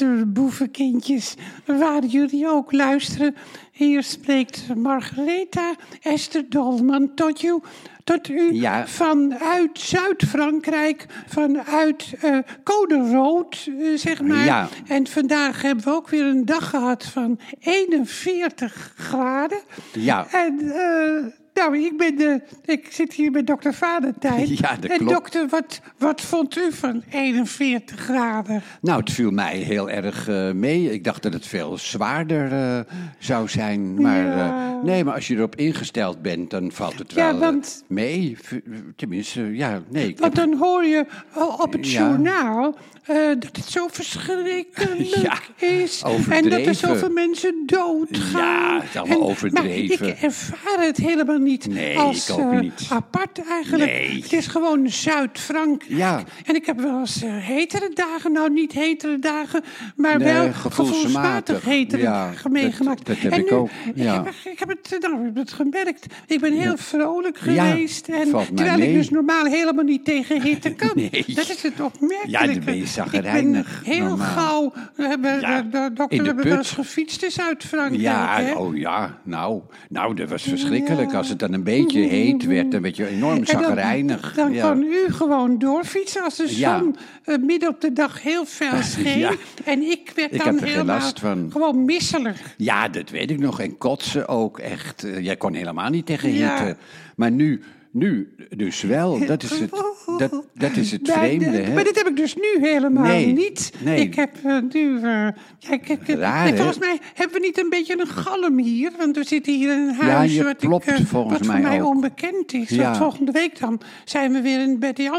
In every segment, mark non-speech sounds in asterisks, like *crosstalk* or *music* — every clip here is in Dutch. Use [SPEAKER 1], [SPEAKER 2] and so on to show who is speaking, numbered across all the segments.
[SPEAKER 1] luisterboevenkindjes, waar jullie ook luisteren. Hier spreekt Margaretha Esther Dolman tot u, tot u
[SPEAKER 2] Ja.
[SPEAKER 1] vanuit Zuid-Frankrijk, vanuit eh Code Rood, eh, zeg maar.
[SPEAKER 2] Ja.
[SPEAKER 1] En vandaag hebben we ook weer een dag gehad van 41 graden.
[SPEAKER 2] Ja.
[SPEAKER 1] En eh, nou, ik, ben de, ik zit hier bij dokter Valentijn.
[SPEAKER 2] *laughs* Ja, dat
[SPEAKER 1] en
[SPEAKER 2] klopt.
[SPEAKER 1] dokter, wat, wat vond u van 41 graden?
[SPEAKER 2] Nou, het viel mij heel erg eh, mee. Ik dacht dat het veel zwaarder eh, zou zijn. Maar
[SPEAKER 1] Ja.
[SPEAKER 2] eh, nee, maar als je erop ingesteld bent, dan valt het
[SPEAKER 1] Ja,
[SPEAKER 2] wel eh,
[SPEAKER 1] want-
[SPEAKER 2] mee. V- Tenminste, ja, nee. ik
[SPEAKER 1] Want
[SPEAKER 2] heb-
[SPEAKER 1] dan hoor je al op het
[SPEAKER 2] Ja.
[SPEAKER 1] journaal eh, dat het zo verschrikkelijk
[SPEAKER 2] *laughs* Ja,
[SPEAKER 1] is. En dat er
[SPEAKER 2] overdreven.
[SPEAKER 1] zoveel mensen doodgaan.
[SPEAKER 2] Ja, het is allemaal
[SPEAKER 1] En-
[SPEAKER 2] overdreven.
[SPEAKER 1] Maar ik ervaar het helemaal niet
[SPEAKER 2] Nee,
[SPEAKER 1] als
[SPEAKER 2] ik ook
[SPEAKER 1] eh,
[SPEAKER 2] niet.
[SPEAKER 1] apart eigenlijk.
[SPEAKER 2] Nee.
[SPEAKER 1] Het is gewoon Zuid-Frankrijk.
[SPEAKER 2] Ja.
[SPEAKER 1] En ik heb wel eens eh, hetere dagen, nou niet hetere dagen, maar
[SPEAKER 2] Nee,
[SPEAKER 1] wel
[SPEAKER 2] gevoelsmatig.
[SPEAKER 1] gevoelsmatig hetere
[SPEAKER 2] Ja,
[SPEAKER 1] dagen
[SPEAKER 2] dat-
[SPEAKER 1] meegemaakt.
[SPEAKER 2] dat heb
[SPEAKER 1] en
[SPEAKER 2] ik
[SPEAKER 1] nu,
[SPEAKER 2] ook, ja.
[SPEAKER 1] Ik heb, ik heb het, eh, nou, ik heb het gemerkt. Ik ben heel vrolijk
[SPEAKER 2] Ja,
[SPEAKER 1] geweest. en,
[SPEAKER 2] valt mij
[SPEAKER 1] terwijl ik
[SPEAKER 2] mee.
[SPEAKER 1] dus normaal helemaal niet tegen
[SPEAKER 2] *laughs*
[SPEAKER 1] hitte kan.
[SPEAKER 2] Nee.
[SPEAKER 1] Dat is het opmerkelijke.
[SPEAKER 2] Ja, dan ben je
[SPEAKER 1] Ik
[SPEAKER 2] chagrijnig,
[SPEAKER 1] ben heel
[SPEAKER 2] normaal.
[SPEAKER 1] gauw... We hebben,
[SPEAKER 2] Ja,
[SPEAKER 1] de, de dokter
[SPEAKER 2] in de
[SPEAKER 1] hebben
[SPEAKER 2] put.
[SPEAKER 1] wel eens gefietst is uit Frankrijk. hè?
[SPEAKER 2] ja, oh ja, nou, nou, dat was verschrikkelijk. Als het dan een beetje heet werd, dan werd je enorm
[SPEAKER 1] En dan-
[SPEAKER 2] zagrijnig.
[SPEAKER 1] Dan
[SPEAKER 2] ja.
[SPEAKER 1] kan u gewoon doorfietsen als de
[SPEAKER 2] Ja.
[SPEAKER 1] zon eh, midden op de dag heel
[SPEAKER 2] *laughs*
[SPEAKER 1] fel scheen.
[SPEAKER 2] Ja.
[SPEAKER 1] En ik werd
[SPEAKER 2] Ik
[SPEAKER 1] dan
[SPEAKER 2] heb er geen
[SPEAKER 1] helemaal
[SPEAKER 2] last van.
[SPEAKER 1] gewoon misselijk.
[SPEAKER 2] Ja, dat weet ik nog. En kotsen ook echt. Eh, Jij kon helemaal niet tegen hitte.
[SPEAKER 1] Ja.
[SPEAKER 2] Maar nu, nu dus wel. Dat is het, dat, dat is het
[SPEAKER 1] Maar
[SPEAKER 2] vreemde.
[SPEAKER 1] de-
[SPEAKER 2] Hè?
[SPEAKER 1] Maar dat heb ik dus nu helemaal
[SPEAKER 2] Nee,
[SPEAKER 1] niet.
[SPEAKER 2] nee.
[SPEAKER 1] Ik heb eh, nu... eh, ja, ik, ik-
[SPEAKER 2] Raar,
[SPEAKER 1] en
[SPEAKER 2] hè?
[SPEAKER 1] volgens mij hebben we niet een beetje een galm hier. Want we zitten hier in een
[SPEAKER 2] Ja,
[SPEAKER 1] huis
[SPEAKER 2] je
[SPEAKER 1] wat,
[SPEAKER 2] klopt
[SPEAKER 1] ik, eh,
[SPEAKER 2] volgens
[SPEAKER 1] wat voor
[SPEAKER 2] mij
[SPEAKER 1] mij
[SPEAKER 2] ook.
[SPEAKER 1] onbekend is.
[SPEAKER 2] Ja.
[SPEAKER 1] Want volgende week dan zijn we weer in, bij die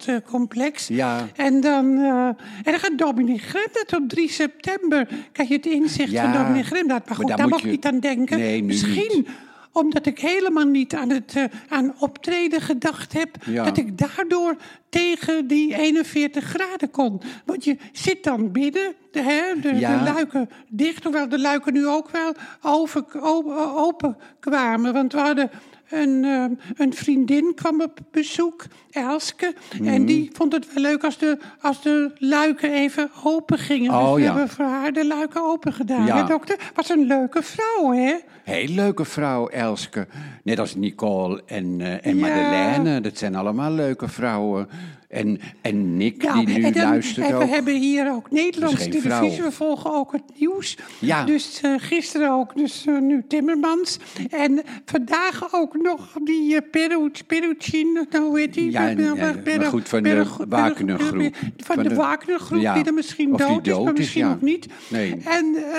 [SPEAKER 1] asfaltcomplex.
[SPEAKER 2] Ja.
[SPEAKER 1] eh, En dan, eh, en dan gaat Dominique Grem dat op 3 september. Kijk je het inzicht
[SPEAKER 2] Ja,
[SPEAKER 1] van Dominique Grem. Maar
[SPEAKER 2] maar
[SPEAKER 1] goed,
[SPEAKER 2] daar
[SPEAKER 1] daar
[SPEAKER 2] moet
[SPEAKER 1] mag ik
[SPEAKER 2] je-
[SPEAKER 1] niet aan denken.
[SPEAKER 2] Nee, nu
[SPEAKER 1] Misschien
[SPEAKER 2] niet.
[SPEAKER 1] omdat ik helemaal niet aan het eh, aan optreden gedacht heb,
[SPEAKER 2] Ja.
[SPEAKER 1] dat ik daardoor tegen die 41 graden kon. Want je zit dan binnen, de, hè, de,
[SPEAKER 2] Ja.
[SPEAKER 1] de luiken dicht, hoewel de luiken nu ook wel over, o- open kwamen. Want we hadden een, ehm, een vriendin kwam op bezoek, Elske, en
[SPEAKER 2] Mhm.
[SPEAKER 1] die vond het wel leuk als de, als de luiken even open gingen.
[SPEAKER 2] Oh,
[SPEAKER 1] dus we
[SPEAKER 2] ja.
[SPEAKER 1] hebben voor haar de luiken open gedaan.
[SPEAKER 2] Ja.
[SPEAKER 1] hè, dokter? Was een leuke vrouw, hè?
[SPEAKER 2] Heel leuke vrouw, Elske. Net als Nicole en, eh, en
[SPEAKER 1] Ja.
[SPEAKER 2] Madeleine. Dat zijn allemaal leuke vrouwen. En, en Nick,
[SPEAKER 1] Ja,
[SPEAKER 2] die nu
[SPEAKER 1] Nou, en, dan-
[SPEAKER 2] luistert
[SPEAKER 1] en we
[SPEAKER 2] ook.
[SPEAKER 1] hebben hier ook Nederlandse
[SPEAKER 2] geen
[SPEAKER 1] televisie.
[SPEAKER 2] vrouw.
[SPEAKER 1] We volgen ook het nieuws.
[SPEAKER 2] Ja.
[SPEAKER 1] Dus eh, gisteren ook, dus eh, nu Timmermans. En vandaag ook nog die eh, Peru, Perucin, nou, hoe heet die?
[SPEAKER 2] Ja, en-
[SPEAKER 1] Peru-
[SPEAKER 2] ja, maar
[SPEAKER 1] Peru-
[SPEAKER 2] goed, van de
[SPEAKER 1] Peru- Peru-
[SPEAKER 2] Wagnergroep.
[SPEAKER 1] Van
[SPEAKER 2] Van
[SPEAKER 1] de
[SPEAKER 2] de-
[SPEAKER 1] Wagnergroep,
[SPEAKER 2] Ja.
[SPEAKER 1] die er misschien
[SPEAKER 2] Of die
[SPEAKER 1] dood, is, maar
[SPEAKER 2] dood is,
[SPEAKER 1] misschien
[SPEAKER 2] ja.
[SPEAKER 1] ook niet.
[SPEAKER 2] Nee.
[SPEAKER 1] En, eh,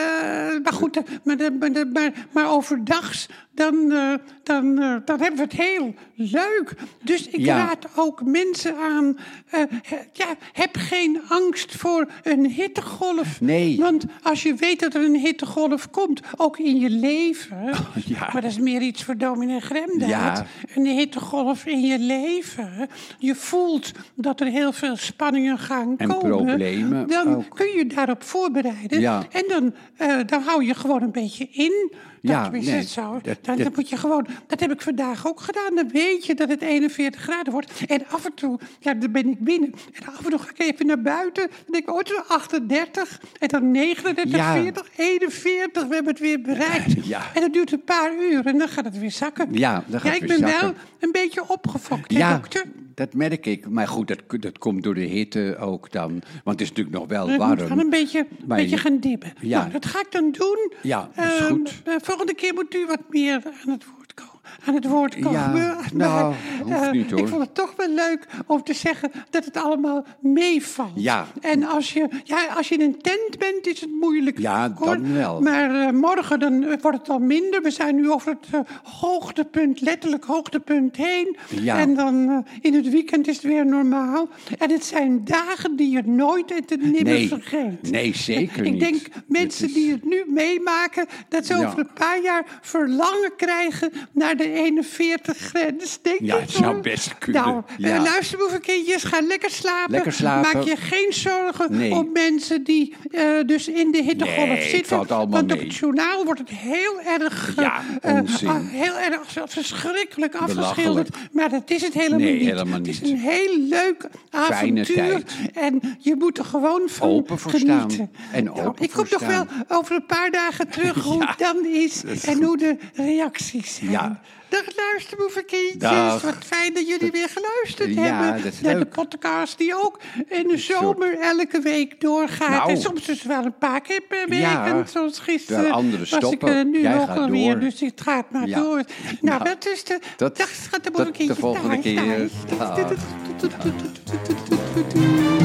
[SPEAKER 1] maar goed, eh, maar, de- maar, de- maar, maar overdags, dan, eh, dan, eh, dan hebben we het heel leuk. Dus ik
[SPEAKER 2] Ja.
[SPEAKER 1] raad ook mensen aan. eh, he- ja, heb geen angst voor een hittegolf.
[SPEAKER 2] Nee.
[SPEAKER 1] Want als je weet dat er een hittegolf komt, ook in je
[SPEAKER 2] *laughs*
[SPEAKER 1] leven.
[SPEAKER 2] Oh, ja.
[SPEAKER 1] Maar dat is meer iets voor dominee Gremdaad.
[SPEAKER 2] Ja.
[SPEAKER 1] Een hittegolf in je leven. Je voelt dat er heel veel spanningen gaan
[SPEAKER 2] En
[SPEAKER 1] komen.
[SPEAKER 2] problemen
[SPEAKER 1] Dan
[SPEAKER 2] ook.
[SPEAKER 1] kun je daarop voorbereiden.
[SPEAKER 2] Ja.
[SPEAKER 1] En dan, eh, dan hou je gewoon een beetje in. Dat
[SPEAKER 2] Ja,
[SPEAKER 1] is
[SPEAKER 2] nee,
[SPEAKER 1] het zo.
[SPEAKER 2] dat-
[SPEAKER 1] dan,
[SPEAKER 2] dat-
[SPEAKER 1] dan moet je gewoon, dat heb ik vandaag ook gedaan. Dan weet je dat het 41 graden wordt. En af en toe, ja, dan ben ik binnen. En af en toe ga ik even naar buiten. Dan denk ik, oh, het is 38. En dan 39,
[SPEAKER 2] Ja.
[SPEAKER 1] 40, 41. We hebben het weer bereikt.
[SPEAKER 2] *laughs* Ja.
[SPEAKER 1] En dat duurt een paar uur. En dan gaat het weer zakken.
[SPEAKER 2] Ja, dan gaat het
[SPEAKER 1] ik
[SPEAKER 2] weer
[SPEAKER 1] ben wel
[SPEAKER 2] zakken.
[SPEAKER 1] een beetje opgefokt, hè,
[SPEAKER 2] Ja,
[SPEAKER 1] dokter?
[SPEAKER 2] dat merk ik. Maar goed, dat, dat komt door de hitte ook dan. Want het is natuurlijk nog wel
[SPEAKER 1] Ik moet
[SPEAKER 2] warm.
[SPEAKER 1] gaan een beetje, een
[SPEAKER 2] Maar
[SPEAKER 1] beetje
[SPEAKER 2] je-
[SPEAKER 1] gaan dibben.
[SPEAKER 2] Ja.
[SPEAKER 1] Nou, dat ga ik dan doen.
[SPEAKER 2] Ja, dat is
[SPEAKER 1] Ehm,
[SPEAKER 2] goed.
[SPEAKER 1] de volgende keer moet u wat meer aan het woord komen. Aan het woord komen.
[SPEAKER 2] Ja,
[SPEAKER 1] Maar,
[SPEAKER 2] nou,
[SPEAKER 1] eh,
[SPEAKER 2] hoeft niet,
[SPEAKER 1] Ik
[SPEAKER 2] hoor.
[SPEAKER 1] vond het toch wel leuk om te zeggen dat het allemaal meevalt.
[SPEAKER 2] Ja.
[SPEAKER 1] En als je, ja, als je in een tent bent, is het moeilijk.
[SPEAKER 2] Ja,
[SPEAKER 1] hoor.
[SPEAKER 2] dan wel.
[SPEAKER 1] Maar eh, morgen dan eh, wordt het al minder. We zijn nu over het eh, hoogtepunt, letterlijk hoogtepunt heen.
[SPEAKER 2] Ja.
[SPEAKER 1] En dan eh, in het weekend is het weer normaal. En het zijn dagen die je nooit en te nimmer
[SPEAKER 2] Nee.
[SPEAKER 1] vergeet.
[SPEAKER 2] Nee, zeker
[SPEAKER 1] Ik
[SPEAKER 2] niet.
[SPEAKER 1] denk
[SPEAKER 2] Het
[SPEAKER 1] mensen die het nu meemaken, dat ze
[SPEAKER 2] Ja.
[SPEAKER 1] over een paar jaar verlangen krijgen naar de 41 grens, denk ik.
[SPEAKER 2] Ja, het zou
[SPEAKER 1] hoor.
[SPEAKER 2] best kunnen,
[SPEAKER 1] Nou,
[SPEAKER 2] ja.
[SPEAKER 1] eh, luisterboevenkindjes, ga lekker slapen.
[SPEAKER 2] Lekker slapen.
[SPEAKER 1] Maak je geen zorgen
[SPEAKER 2] Nee.
[SPEAKER 1] om mensen die eh, dus in de hittegolf
[SPEAKER 2] Nee, het
[SPEAKER 1] zitten.
[SPEAKER 2] valt allemaal
[SPEAKER 1] want op
[SPEAKER 2] mee.
[SPEAKER 1] het journaal wordt het heel erg, eh,
[SPEAKER 2] Ja,
[SPEAKER 1] eh,
[SPEAKER 2] onzin.
[SPEAKER 1] ah, heel erg verschrikkelijk
[SPEAKER 2] Belachelijk.
[SPEAKER 1] afgeschilderd. Maar dat is het helemaal
[SPEAKER 2] Nee,
[SPEAKER 1] niet.
[SPEAKER 2] helemaal
[SPEAKER 1] Het
[SPEAKER 2] niet.
[SPEAKER 1] is een heel leuk
[SPEAKER 2] Fijne
[SPEAKER 1] avontuur.
[SPEAKER 2] tijd.
[SPEAKER 1] En je moet er gewoon van
[SPEAKER 2] Open voor staan.
[SPEAKER 1] Oh, genieten.
[SPEAKER 2] En
[SPEAKER 1] Nou,
[SPEAKER 2] open
[SPEAKER 1] ik
[SPEAKER 2] voor
[SPEAKER 1] kom toch
[SPEAKER 2] staan.
[SPEAKER 1] wel over een paar dagen
[SPEAKER 2] *laughs*
[SPEAKER 1] terug hoe het dan is en hoe de reacties zijn.
[SPEAKER 2] Ja.
[SPEAKER 1] Dag luisterboevenkindjes,
[SPEAKER 2] Dag.
[SPEAKER 1] wat fijn dat jullie weer geluisterd
[SPEAKER 2] Ja,
[SPEAKER 1] hebben.
[SPEAKER 2] dat is
[SPEAKER 1] naar
[SPEAKER 2] leuk.
[SPEAKER 1] de podcast die ook in de
[SPEAKER 2] soort-
[SPEAKER 1] zomer elke week doorgaat.
[SPEAKER 2] Nou.
[SPEAKER 1] En soms dus wel een paar keer per week.
[SPEAKER 2] Ja.
[SPEAKER 1] En zoals gisteren
[SPEAKER 2] Terwijl anderen
[SPEAKER 1] was
[SPEAKER 2] stoppen,
[SPEAKER 1] ik eh, nu
[SPEAKER 2] jij
[SPEAKER 1] ook
[SPEAKER 2] gaat
[SPEAKER 1] alweer,
[SPEAKER 2] door.
[SPEAKER 1] dus het gaat maar
[SPEAKER 2] Ja. *laughs*
[SPEAKER 1] door. Nou,
[SPEAKER 2] Nou,
[SPEAKER 1] dat is de...
[SPEAKER 2] dat-
[SPEAKER 1] dag schat
[SPEAKER 2] dat de volgende keer. Dag.
[SPEAKER 1] Dag.